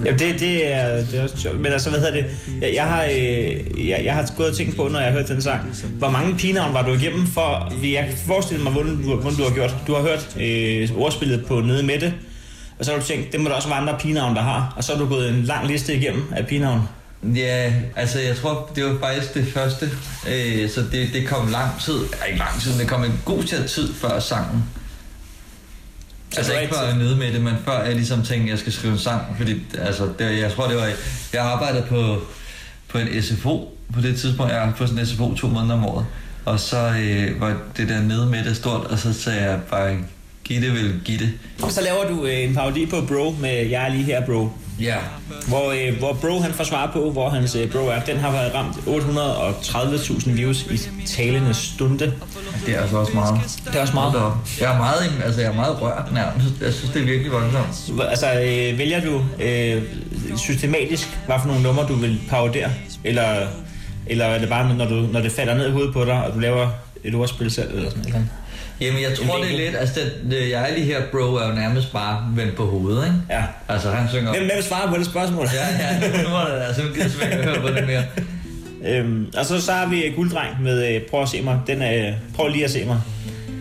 D: Jamen det, det, er, det er også sjovt. Men altså, hvad hedder det? Jeg, jeg, har, øh, jeg, jeg har gået og tænkt på, når jeg har hørt den sang, hvor mange pigenavn var du igennem for... Jeg kan forestille mig, hvordan du, hvordan du har gjort. Du har hørt øh, ordspillet på Nede med det, og så har du tænkt, det må der også være andre pigenavn, der har. Og så har du gået en lang liste igennem af pigenavn.
J: Ja, altså jeg tror, det var faktisk det første, øh, så det, det kom lang tid, ej, ikke lang tid, men det kom en god tid- tid før sangen. altså ikke før jeg nede med det, men før jeg ligesom tænkte, at jeg skal skrive en sang, fordi altså, det, jeg tror det var, jeg arbejdede på, på en SFO på det tidspunkt, jeg var på sådan en SFO to måneder om året, og så øh, var det der nede med det stort, og så sagde jeg bare, Gitte vil Gitte.
D: Og så laver du øh, en parodi på Bro med Jeg er lige her, Bro.
J: Ja.
D: Hvor, øh, hvor Bro han får svar på, hvor hans øh, Bro er. Den har været ramt 830.000 views i talende stunde.
J: Det er altså også meget.
D: Det er også meget.
J: Jeg er meget, altså, jeg er meget rørt nærmest. Jeg synes, det er virkelig voldsomt.
D: Altså, øh, vælger du øh, systematisk, hvad for nogle numre du vil parodere? Eller, eller er det bare, når, du, når det falder ned i hovedet på dig, og du laver et ordspil selv? Eller sådan noget?
J: Jamen, jeg tror, det er lidt... Altså, den, øh, jeg er lige her, bro, er jo nærmest bare vendt på hovedet, ikke?
D: Ja.
J: Altså, han synger...
D: Hvem, hvem svarer på det spørgsmål?
J: Ja, ja, nu var det altså, nu gider jeg ikke høre på det mere.
D: Øhm, og så, så har vi øh, Gulddreng med øh, Prøv at se mig. Den er, øh, prøv lige at se mig.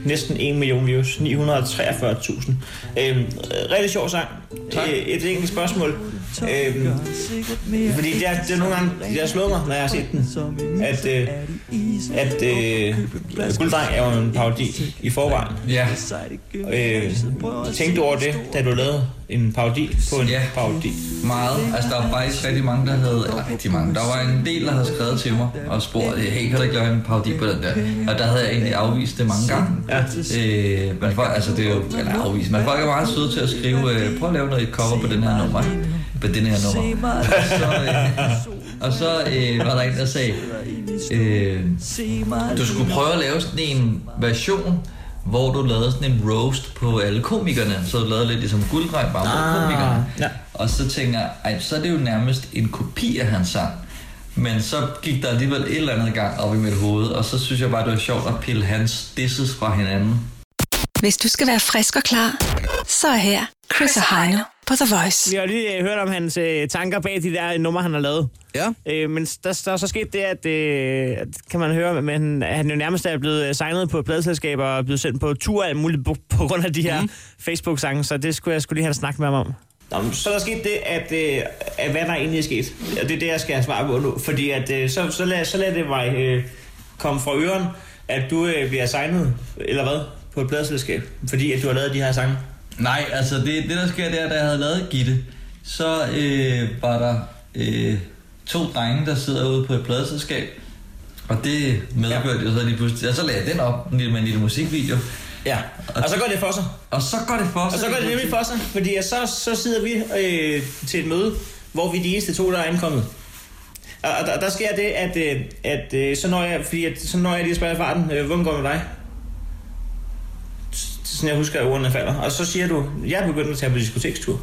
D: Næsten 1 million views. 943.000. Øhm, øh, rigtig sjov sang. Øh, et enkelt spørgsmål. Øhm, fordi det er, det er nogle gange, det har slået mig, når jeg har set den, at, øh, at øh, Gulddreng er jo en parodi i forvejen.
J: Ja.
D: Øh, tænkte du over det, da du lavede en parodi på en ja. parodi?
J: Meget. Altså, der var faktisk rigtig mange, der havde... Eller rigtig mange. Der var en del, der havde skrevet til mig og spurgt, hey, kan du ikke lave en parodi på den der? Og der havde jeg egentlig afvist det mange gange. Ja. Øh, men folk, altså, det er jo... Eller afvist. Men folk er meget søde til at skrive, øh, prøv at lave noget cover på den her nummer, ikke? På den her nummer. Og så øh, var der en, der sagde, øh, du skulle prøve at lave sådan en version, hvor du lavede sådan en roast på alle komikerne. Så du lavede lidt ligesom gulddreng bare
D: Ah.
J: mod komikerne.
D: Ja.
J: Og så tænker jeg, ej, så er det jo nærmest en kopi af hans sang. Men så gik der alligevel et eller andet gang op i mit hoved, og så synes jeg bare, det var sjovt at pille hans disses fra hinanden.
A: Hvis du skal være frisk og klar, så er her Chris og Heino på The Voice.
K: Vi har lige øh, hørt om hans øh, tanker bag de der øh, numre, han har lavet.
C: Ja.
K: Øh, men der, der er så sket det, at, øh, at kan man høre, men han, han jo nærmest er blevet øh, signet på et pladselskab og er blevet sendt på tur af muligt på, på grund af de
D: Mhm.
K: her mm. Facebook-sange, så det skulle jeg skulle lige have en snak med ham om.
D: Nå, men så er der sket det, at, øh, at hvad der egentlig er sket. Og det er det, jeg skal have svar på nu. Fordi at, øh, så, så, lad, så lad det mig øh, komme fra øren, at du øh, bliver signet, eller hvad, på et pladeselskab. Fordi at du har lavet de her sange.
J: Nej, altså det, det der sker, det er, da jeg havde lavet Gitte, så øh, var der øh, to drenge, der sidder ude på et pladeselskab, og det medførte ja. jo så lige pludselig, og så lagde jeg den op en lille- med en lille musikvideo.
D: Ja, og, og så går det for sig.
J: Og så går det for sig.
D: Og så går det nemlig for sig, fordi at så, så sidder vi øh, til et møde, hvor vi er de eneste to, der er ankommet. Og, og der, der sker det, at, øh, at øh, så, når jeg, fordi at, så når jeg lige spørger i farten, øh, hvordan går det med dig? S- Sådan jeg husker, at ordene falder. Og så siger du, jeg er begyndt at tage på diskotekstur.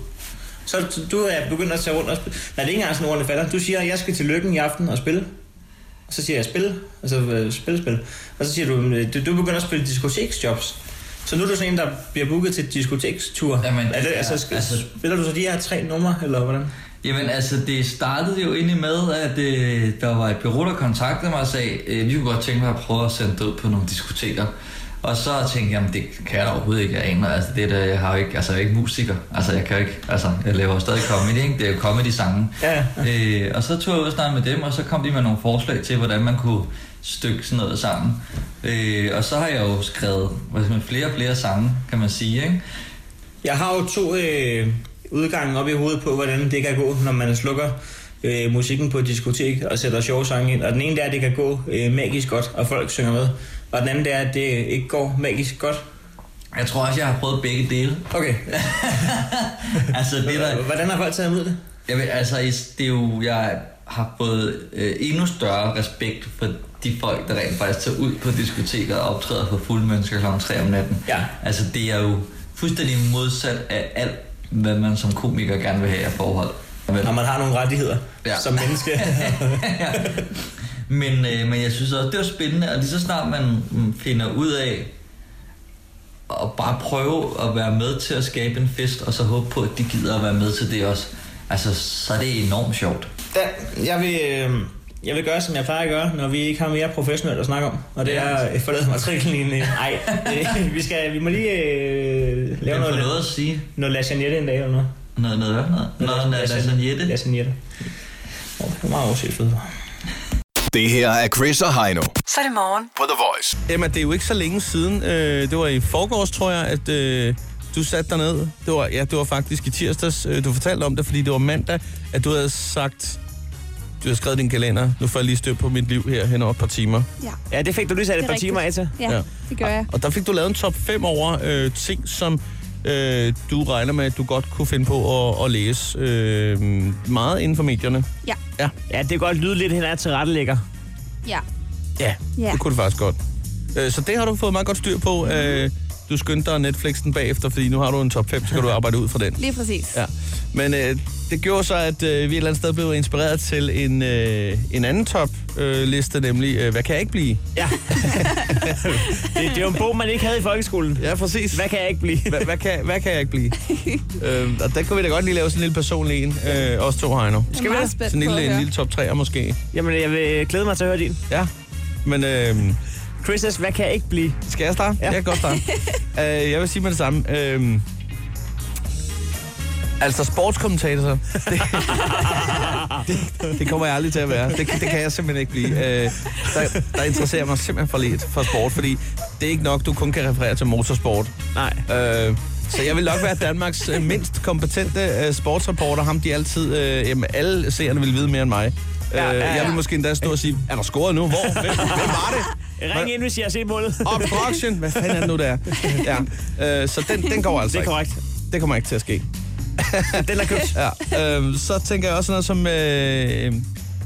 D: Så t- du er begyndt at tage rundt og spille. Nej, det er ikke engang sådan, ordene falder. Du siger, jeg skal til lykken i aften og spille. Og så siger jeg, spil. Altså, øh, spil, spil. Og så siger du, øh, du, du begynder at spille diskoteksjobs. Så
L: Så nu er du sådan en, der bliver booket til diskotekstur. Jamen, er det,
J: ja,
L: altså, skal,
J: altså-
L: altså, spiller du så de her tre numre, eller hvordan?
J: Jamen altså, det startede jo egentlig med, at øh, der var et bureau, der kontaktede mig og sagde, øh, vi kunne godt tænke mig at prøve at sende død på nogle diskoteker. Og så tænkte jeg, jamen det kan jeg da overhovedet ikke, jeg aner, altså det der, jeg har jo ikke, altså jeg er ikke musiker, altså jeg kan jo ikke, altså jeg laver jo stadig comedy, ikke? det er jo comedy-sangen.
L: Ja,
J: Øh, og så tog jeg ud og snakkede med dem, og så kom de med nogle forslag til, hvordan man kunne stykke sådan noget sammen. Øh, og så har jeg jo skrevet hvad skal man, flere og flere sange, kan man sige, ikke?
L: Jeg har jo to øh, udgange op i hovedet på, hvordan det kan gå, når man slukker øh, musikken på et diskotek og sætter sjove sange ind. Og den ene det er, at det kan gå øh, magisk godt, og folk synger med. Og den anden det er, at det ikke går magisk godt.
J: Jeg tror også, jeg har prøvet begge dele.
L: Okay.
J: altså, det der...
L: Hvordan har folk taget imod det?
J: Jamen, altså, det er jo, jeg har fået øh, endnu større respekt for de folk, der rent faktisk tager ud på diskoteker og optræder for fulde mennesker kl. 3 om natten. Ja. Altså, det er jo fuldstændig modsat af alt, hvad man som komiker gerne vil have af forhold. Vel?
L: Når man har nogle rettigheder
J: Ja.
L: som menneske.
J: Men, øh, men jeg synes også, det var spændende, og lige så snart man mm, finder ud af at bare prøve at være med til at skabe en fest, og så håbe på, at de gider at være med til det også, altså, så er det enormt sjovt.
L: Der, jeg, vil, øh, jeg vil gøre, som jeg plejer at gøre, når vi ikke har mere professionelt at snakke om. Og det er at forlade matriklen i en... Ej, øh, vi, skal, vi må lige øh, lave
J: får
L: noget,
J: noget at sige.
L: Noget lasagnette en dag eller noget.
J: Noget, noget, hvad? noget, noget, noget lasagnette.
L: Lasagnette. Åh, det er meget overset fed.
F: Det her er Chris og Heino.
A: Så er det morgen.
F: På The Voice.
C: Emma, det er jo ikke så længe siden. Øh, det var i forgårs, tror jeg, at øh, du satte dig ned. Det var, ja, det var faktisk i tirsdags. Øh, du fortalte om det, fordi det var mandag, at du havde sagt... Du har skrevet i din kalender. Nu får jeg lige styr på mit liv her hen over et par timer.
E: Ja.
D: Ja, det fik du lige sat et par timer af til.
E: Ja, ja, det gør jeg.
C: Og der fik du lavet en top 5 over øh, ting, som øh, du regner med, at du godt kunne finde på at, at læse øh, meget inden for medierne.
E: Ja,
C: Ja.
D: Ja, det kan godt lyde lidt, at han er tilrettelægger.
E: ja.
C: Ja,
E: Ja. Mhm.
C: det kunne det faktisk godt. Øh, Så det har du fået meget godt styr på. Øh, Du skyndte dig Netflixen bagefter, fordi nu har du en top 5, så kan du arbejde ud fra den.
E: Lige præcis.
C: Ja. Men øh, det gjorde så, at øh, vi et eller andet sted blev inspireret til en, øh, en anden top-liste, nemlig øh, Hvad kan jeg ikke blive?
D: Ja. det, det er jo en bog, man ikke havde i folkeskolen.
C: Ja, præcis.
D: Hvad kan jeg ikke blive?
C: Hvad, hvad, kan, hvad kan jeg ikke blive? øh, og der kunne vi da godt lige lave sådan en lille personlig en, øh, os to Heino. Sådan
D: Skal vi
C: en
D: meget det? spændt
E: på at
C: lille, en
E: høre.
C: lille top 3'er måske.
D: Jamen, jeg vil glæde mig til at høre din.
C: Ja, men... Øh,
D: Chris S., hvad kan jeg ikke blive?
C: Skal jeg starte? Ja. Jeg kan godt starte. uh, jeg vil sige med det samme. Uh, altså sportskommentator, det, det, det kommer jeg aldrig til at være. Det, det kan jeg simpelthen ikke blive. Uh, der, der interesserer mig simpelthen for lidt for sport, fordi det er ikke nok, du kun kan referere til motorsport.
D: Nej.
C: Uh, så jeg vil nok være Danmarks øh, mindst kompetente øh, sportsreporter. Ham de altid, øh, jamen alle seerne vil vide mere end mig. Ja, ja, ja. Jeg vil måske endda stå og sige, er der scoret nu? Hvor? Hvem, hvem var det?
D: Ring ind, hvis jeg har set målet.
C: Obstruction! Hvad fanden er det nu, der er? Ja. Øh, så den, den går altså
D: Det er korrekt.
C: Ikke. Det kommer ikke til at ske.
D: Den er købt.
C: Ja. Øh, så tænker jeg også noget som øh,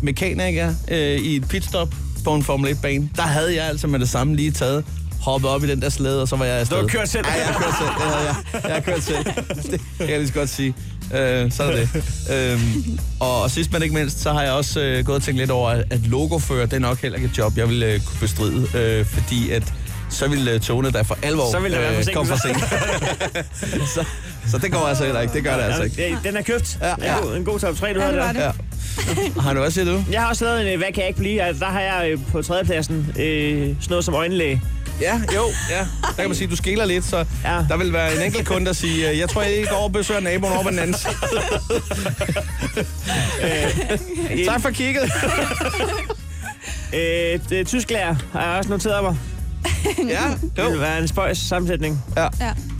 C: mekaniker øh, i et pitstop på en Formel 1-bane. Der havde jeg altså med det samme lige taget hoppet op i den der slæde, og så var jeg afsted.
D: Du har kørt selv.
C: Ja, jeg har kørt selv. Det havde jeg. Jeg har kørt selv. Det kan jeg lige så godt sige. Øh, så er det. Øhm, og, og sidst men ikke mindst, så har jeg også øh, gået og tænkt lidt over, at logofører, det er nok heller ikke et job, jeg vil øh, kunne bestride, øh, fordi at så ville øh, togene der for alvor øh,
D: Så ville der være
C: komme for sent.
D: forsinkelser.
C: så, så det går altså heller ikke. Det gør det altså ikke.
D: Ja, Den er købt.
C: Ja, ja.
D: En, god, en god top 3, du har der.
C: Ja. Har du også set du?
D: Jeg har også lavet en, øh, hvad kan jeg ikke blive? Altså, Der har jeg øh, på tredjepladsen øh, sådan noget som øjenlæge.
C: Ja, jo, ja. Der kan man sige, at du skiller lidt, så ja.
D: Ja.
C: der vil være en enkelt kunde, der siger, "Øh, jeg tror, jeg ikke går og besøger naboen over på den anden side.
D: En,
C: Tak for kigget.
D: øh, det er tysklærer har jeg også noteret mig.
C: Ja,
D: Det vil
C: jo.
D: være en spøjs sammensætning.
C: Ja,
E: Ja.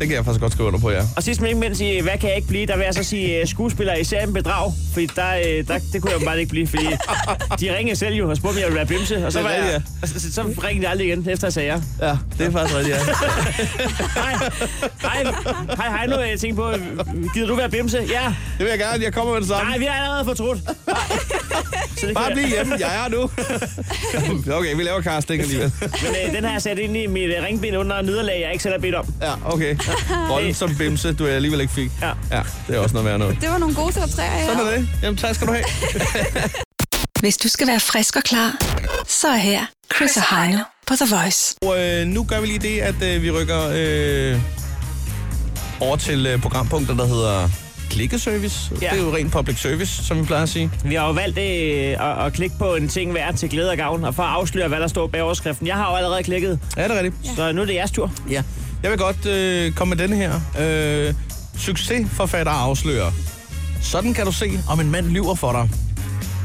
C: det kan jeg faktisk godt skrive under på, ja.
D: Og sidst men ikke mindst i, øh, hvad kan jeg ikke blive, der vil jeg så sige øh, skuespiller i serien Bedrag. Fordi der, øh, der, det kunne jeg bare ikke blive, fordi de ringede selv jo og spurgte, om jeg ville være bimse. Og så,
C: Det er
D: var
C: rigtigt,
D: jeg,
C: ja.
D: og så, så, så ringede de aldrig igen, efter jeg sagde ja.
C: Ja, det er faktisk rigtigt, ja.
D: Hej, hej, hej, hej nu, jeg tænkte på, øh, gider du være bimse? Ja.
C: Det vil jeg gerne, jeg kommer med det samme.
D: Nej, vi har allerede fortrudt. Så det
C: Bare
D: kan-
C: bliv hjemme, jeg er nu. Okay, vi laver casting alligevel.
D: Men øh, den har jeg sat ind i mit øh, ringbind under nederlag, jeg ikke selv har bedt om.
C: Ja, okay. Rollen som bimse, du alligevel ikke fik.
D: Ja.
C: ja det er også noget værd noget.
E: Det var nogle gode top 3, jeg
C: Sådan
E: havde.
C: er det. Jamen, tak skal du have.
A: Hvis du skal være frisk og klar, så er her Chris og Heino på The Voice.
C: Og øh, nu gør vi lige det, at øh, vi rykker øh, over til øh, programpunktet, der hedder klikkeservice. Ja. Det er jo rent public service, som vi plejer at sige.
D: Vi har jo valgt øh, at, at klikke på en ting hver til glæde og gavn, og for at afsløre, hvad der står bag overskriften. Jeg har jo allerede klikket.
C: Ja, det er rigtigt.
D: Så nu er det jeres tur.
C: Ja. Jeg vil godt øh, komme med denne her. Øh, succesforfatter afslører. Sådan kan du se, om en mand lyver for dig.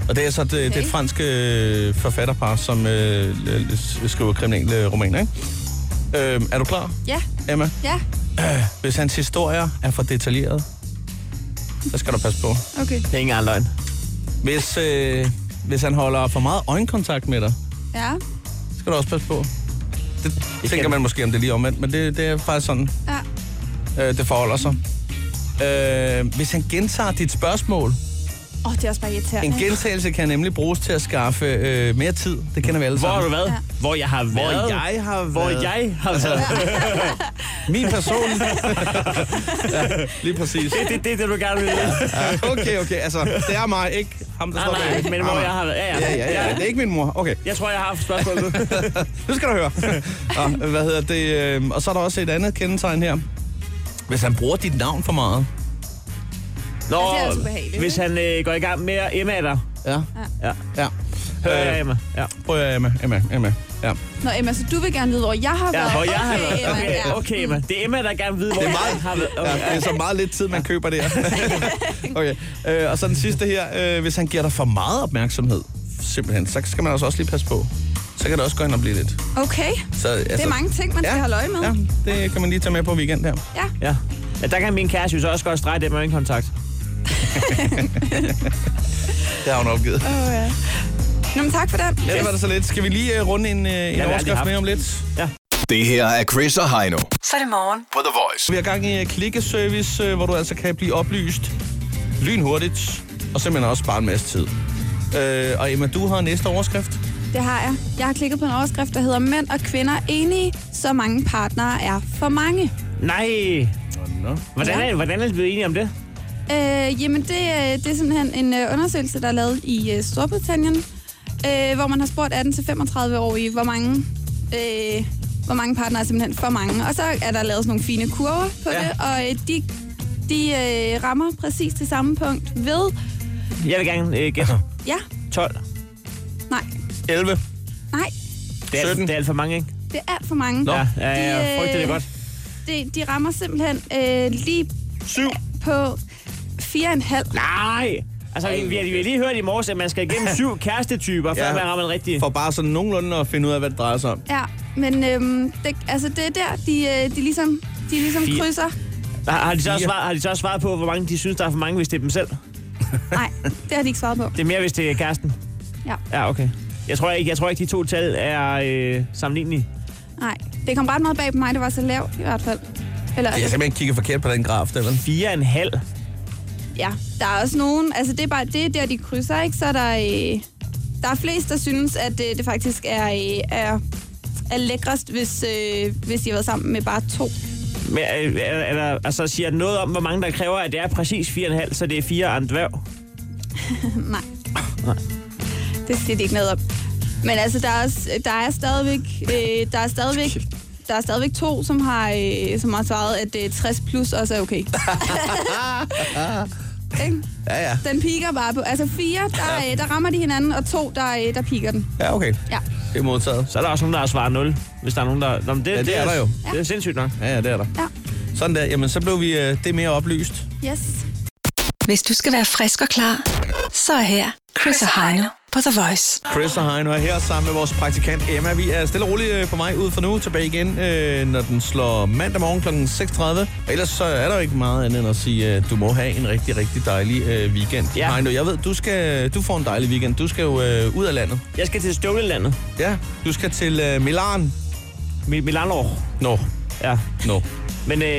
C: Og det er så det, okay. det er et fransk øh, forfatterpar, som øh, l- l- skriver kriminelle romaner, ikke? Øh, er du klar,
E: Ja,
C: Emma?
E: ja,
C: Øh, hvis hans historier er for detaljeret, så skal du passe på.
E: okay.
D: Det er ikke engang løgn.
C: Hvis, øh, hvis han holder for meget øjenkontakt med dig,
E: Ja,
C: så skal du også passe på. Det, det tænker man måske, om det er lige omvendt, men det, det er faktisk sådan,
E: ja.
C: øh, det forholder sig. Øh, hvis han gentager dit spørgsmål,
E: Åh, oh, det er også bare irriterende.
C: en gentagelse kan nemlig bruges til at skaffe øh, mere tid. Det kender vi alle
D: Hvor har
C: sammen.
D: du været? Ja. Hvor jeg har
C: Hvor
D: været?
C: jeg har
D: Hvor
C: været. Altså.
D: jeg har været.
C: Min person. ja, lige præcis.
D: Det er det, det, det, du gerne vil vide.
C: Ja, okay, okay. Altså, det er mig, ikke ham, der
D: Nej,
C: står
D: nej,
C: bag.
D: men hvor jeg har været. Ja, ja.
C: Ja, ja, ja. Det er ikke min mor. Okay.
D: Jeg tror, jeg har haft spørgsmålet.
C: Nu skal du høre. Nå, hvad hedder det? øh, Og så er der også et andet kendetegn her. Hvis han bruger dit navn for meget.
D: Nå,
E: Ja, det er altså ubehageligt,
D: hvis han øh, går i gang med at Emma er der.
C: Ja.
D: Ja.
C: Ja.
D: Hører
C: Øh,
D: jeg Emma. Ja.
C: Prøv at Emma, Emma, Emma. Ja.
E: Nå, Emma, så du vil gerne vide, hvor jeg har
D: Ja,
E: været.
D: hvor jeg har været.
E: Emma,
D: Okay,
E: ja.
D: okay, Emma. Det er Emma, der gerne vil vide, hvor
C: Det er
D: jeg
C: meget-
D: har været.
C: Ja, det er så meget lidt tid, man køber der. okay. Øh, og så den sidste her. Øh, hvis han giver dig for meget opmærksomhed, simpelthen, så skal man altså også lige passe på. Så kan det også gå hen og blive lidt.
E: Okay,
C: Så, altså,
E: det er mange ting, man skal holde øje med.
C: Ja, det kan man lige tage med på weekend her.
E: Ja.
D: Ja. ja, der kan min kæreste jo så også godt strege det med en kontakt.
C: Det har hun opgivet.
E: Åh, ja. Nå, men tak for den.
C: Ja, det var det så lidt. Skal vi lige øh, runde en, øh, en
D: aldrig
C: overskrift
D: haft.
C: med om lidt?
F: Det her er Chris og Heino
A: Så er det morgen.
F: på The Voice.
C: Vi har gang i øh, klikkeservice, øh, hvor du altså kan blive oplyst lynhurtigt, og simpelthen også spare en masse tid. Øh, og Emma, du har næste overskrift.
E: Det har jeg. Jeg har klikket på en overskrift, der hedder Mænd og kvinder enige, så mange partnere er for mange.
D: Nej,
C: Nå.
D: hvordan er, hvordan er vi blevet enige om det?
E: Øh, jamen, det, øh, det er simpelthen en øh, undersøgelse, der er lavet i øh, Storbritannien, øh, hvor man har spurgt 18-35-årige, hvor mange, øh, hvor mange partnere er simpelthen for mange. Og så er der lavet sådan nogle fine kurver på
D: Ja.
E: ja. det, og øh, de, de øh, rammer præcis det samme punkt ved...
D: Jeg vil gerne øh, gætte.
E: Ja,
D: 12.
E: nej,
C: 11.
E: nej,
D: Det er, alt-
C: 17.
D: det er alt for mange, ikke?
E: det er alt for mange.
D: Ja, ja, ja,
E: De,
D: jeg
E: øh,
D: frygter det godt.
E: De, de rammer simpelthen øh, lige
C: 7.
E: på 4,5.
D: Nej! Altså, vi, vi, har, vi har lige hørt i morges, at man skal igennem syv kærestetyper, før
C: Ja.
D: man rammer den rigtige.
C: For bare sådan nogenlunde at finde ud af, hvad det drejer sig om.
E: Ja, men øhm, det, altså, det er der, de, øh, de ligesom, de ligesom
D: Fire.
E: krydser.
D: Har, har, de så også
C: Fire.
D: svaret, har de så også svaret på, hvor mange de synes, der er for mange, hvis det er dem selv?
E: Nej, det har de ikke svaret på.
D: Det er mere, hvis det er kæresten.
E: Ja.
D: Ja, okay. Jeg tror ikke, jeg tror ikke de to tal er øh, sammenlignelige.
E: Nej, det kom ret meget bag på mig, det var så lavt i hvert fald. Eller,
D: altså-
C: Jeg har simpelthen kigget forkert på den graf, der vel?
D: Fire en halv.
E: ja, der er også nogen, altså det er bare det er der, de krydser, ikke? Så er der, øh, der er flest, der synes, at øh, det faktisk er, øh, er, er lækrest, hvis, øh, hvis de har været sammen med bare to.
D: Men, øh, er, er der, altså, siger det noget om, hvor mange der kræver, at det er præcis fire en halv, så det er fire og en dværg?
E: Nej. Det siger de ikke noget om. Men altså, der er, også- der er stadigvæk, øh, der er stadigvæk, der er stadigvæk to, som har, øh, som har svaret, at øh, 60 plus også er okay. Ikke?
C: Ja, ja.
E: den piker bare på. Altså fire, der, øh, der rammer de hinanden, og to, der, øh, der piker den.
C: Ja, okay.
E: Ja.
C: Det er modtaget.
D: Så er der også nogen, der har svaret 0, hvis der er nogen, der... Nå, men det, ja,
C: det er der jo.
D: Det er sindssygt nok.
C: Ja, ja, det er der.
E: Ja.
C: Sådan der. Jamen, så blev vi øh, det mere oplyst.
E: Yes.
A: Hvis du skal være frisk og klar, så er her Chris og Heino på The Voice.
C: Chris og Heino er her sammen med vores praktikant Emma. Vi er stille og roligt øh, på vej ud for nu. Tilbage igen, øh, når den slår mandag morgen kl. 6.30. Og Ellers så er der jo ikke meget andet end at sige, øh, du må have en rigtig, rigtig dejlig øh, weekend.
D: Ja.
C: Heino, jeg ved, du, skal, du får en dejlig weekend. Du skal jo øh, ud af landet.
D: Jeg skal til Støvlelandet.
C: Ja. Du skal til øh, Milan.
D: Mi- Milanor.
C: Nå,
D: Ja.
C: no.
D: Men øh,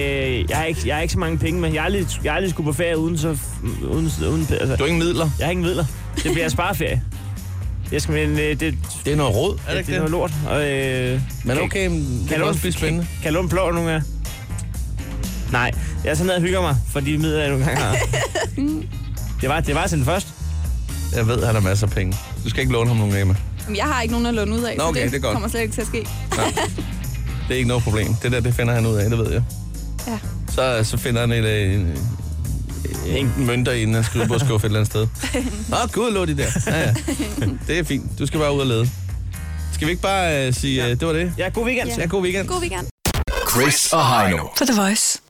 D: jeg, har ikke, jeg har ikke så mange penge med. Jeg har aldrig, jeg har aldrig skulle på ferie uden så... Uden, uden, altså,
C: Du har ingen midler.
D: jeg har ingen midler. Det bliver spareferie. Jeg skal, men, øh, det, det,
C: Det er noget råd, er det
D: det,
C: ikke
D: er
C: det?
D: noget lort. Og, øh,
C: Men okay, men det kan,
D: du-
C: også blive spændende.
D: Kan, kan du blå nogle gange? Nej, jeg er sådan nede og hygger mig, for de midler, jeg nogle gange har. det var, det var til den første.
C: Jeg ved, han har masser af penge. Du skal ikke låne ham nogen, Emma.
E: Jamen, jeg har ikke nogen at låne ud af,
C: Nå,
E: så
C: okay,
E: det,
C: det er godt.
E: kommer slet ikke til at ske.
C: Det er ikke noget problem. Det der, det finder han ud af, det ved jeg.
E: Ja.
C: Så, så finder han et, øh, en, en mønter inden han skriver på skuffe et eller andet sted. Nå, gud, lå de der. Ja, ja. Det er fint. Du skal bare ud og lede. Skal vi ikke bare øh, sige, ja. det var det?
D: Ja, god weekend.
C: Ja, god weekend.
E: God weekend.
F: Chris og Heino.
A: På The Voice.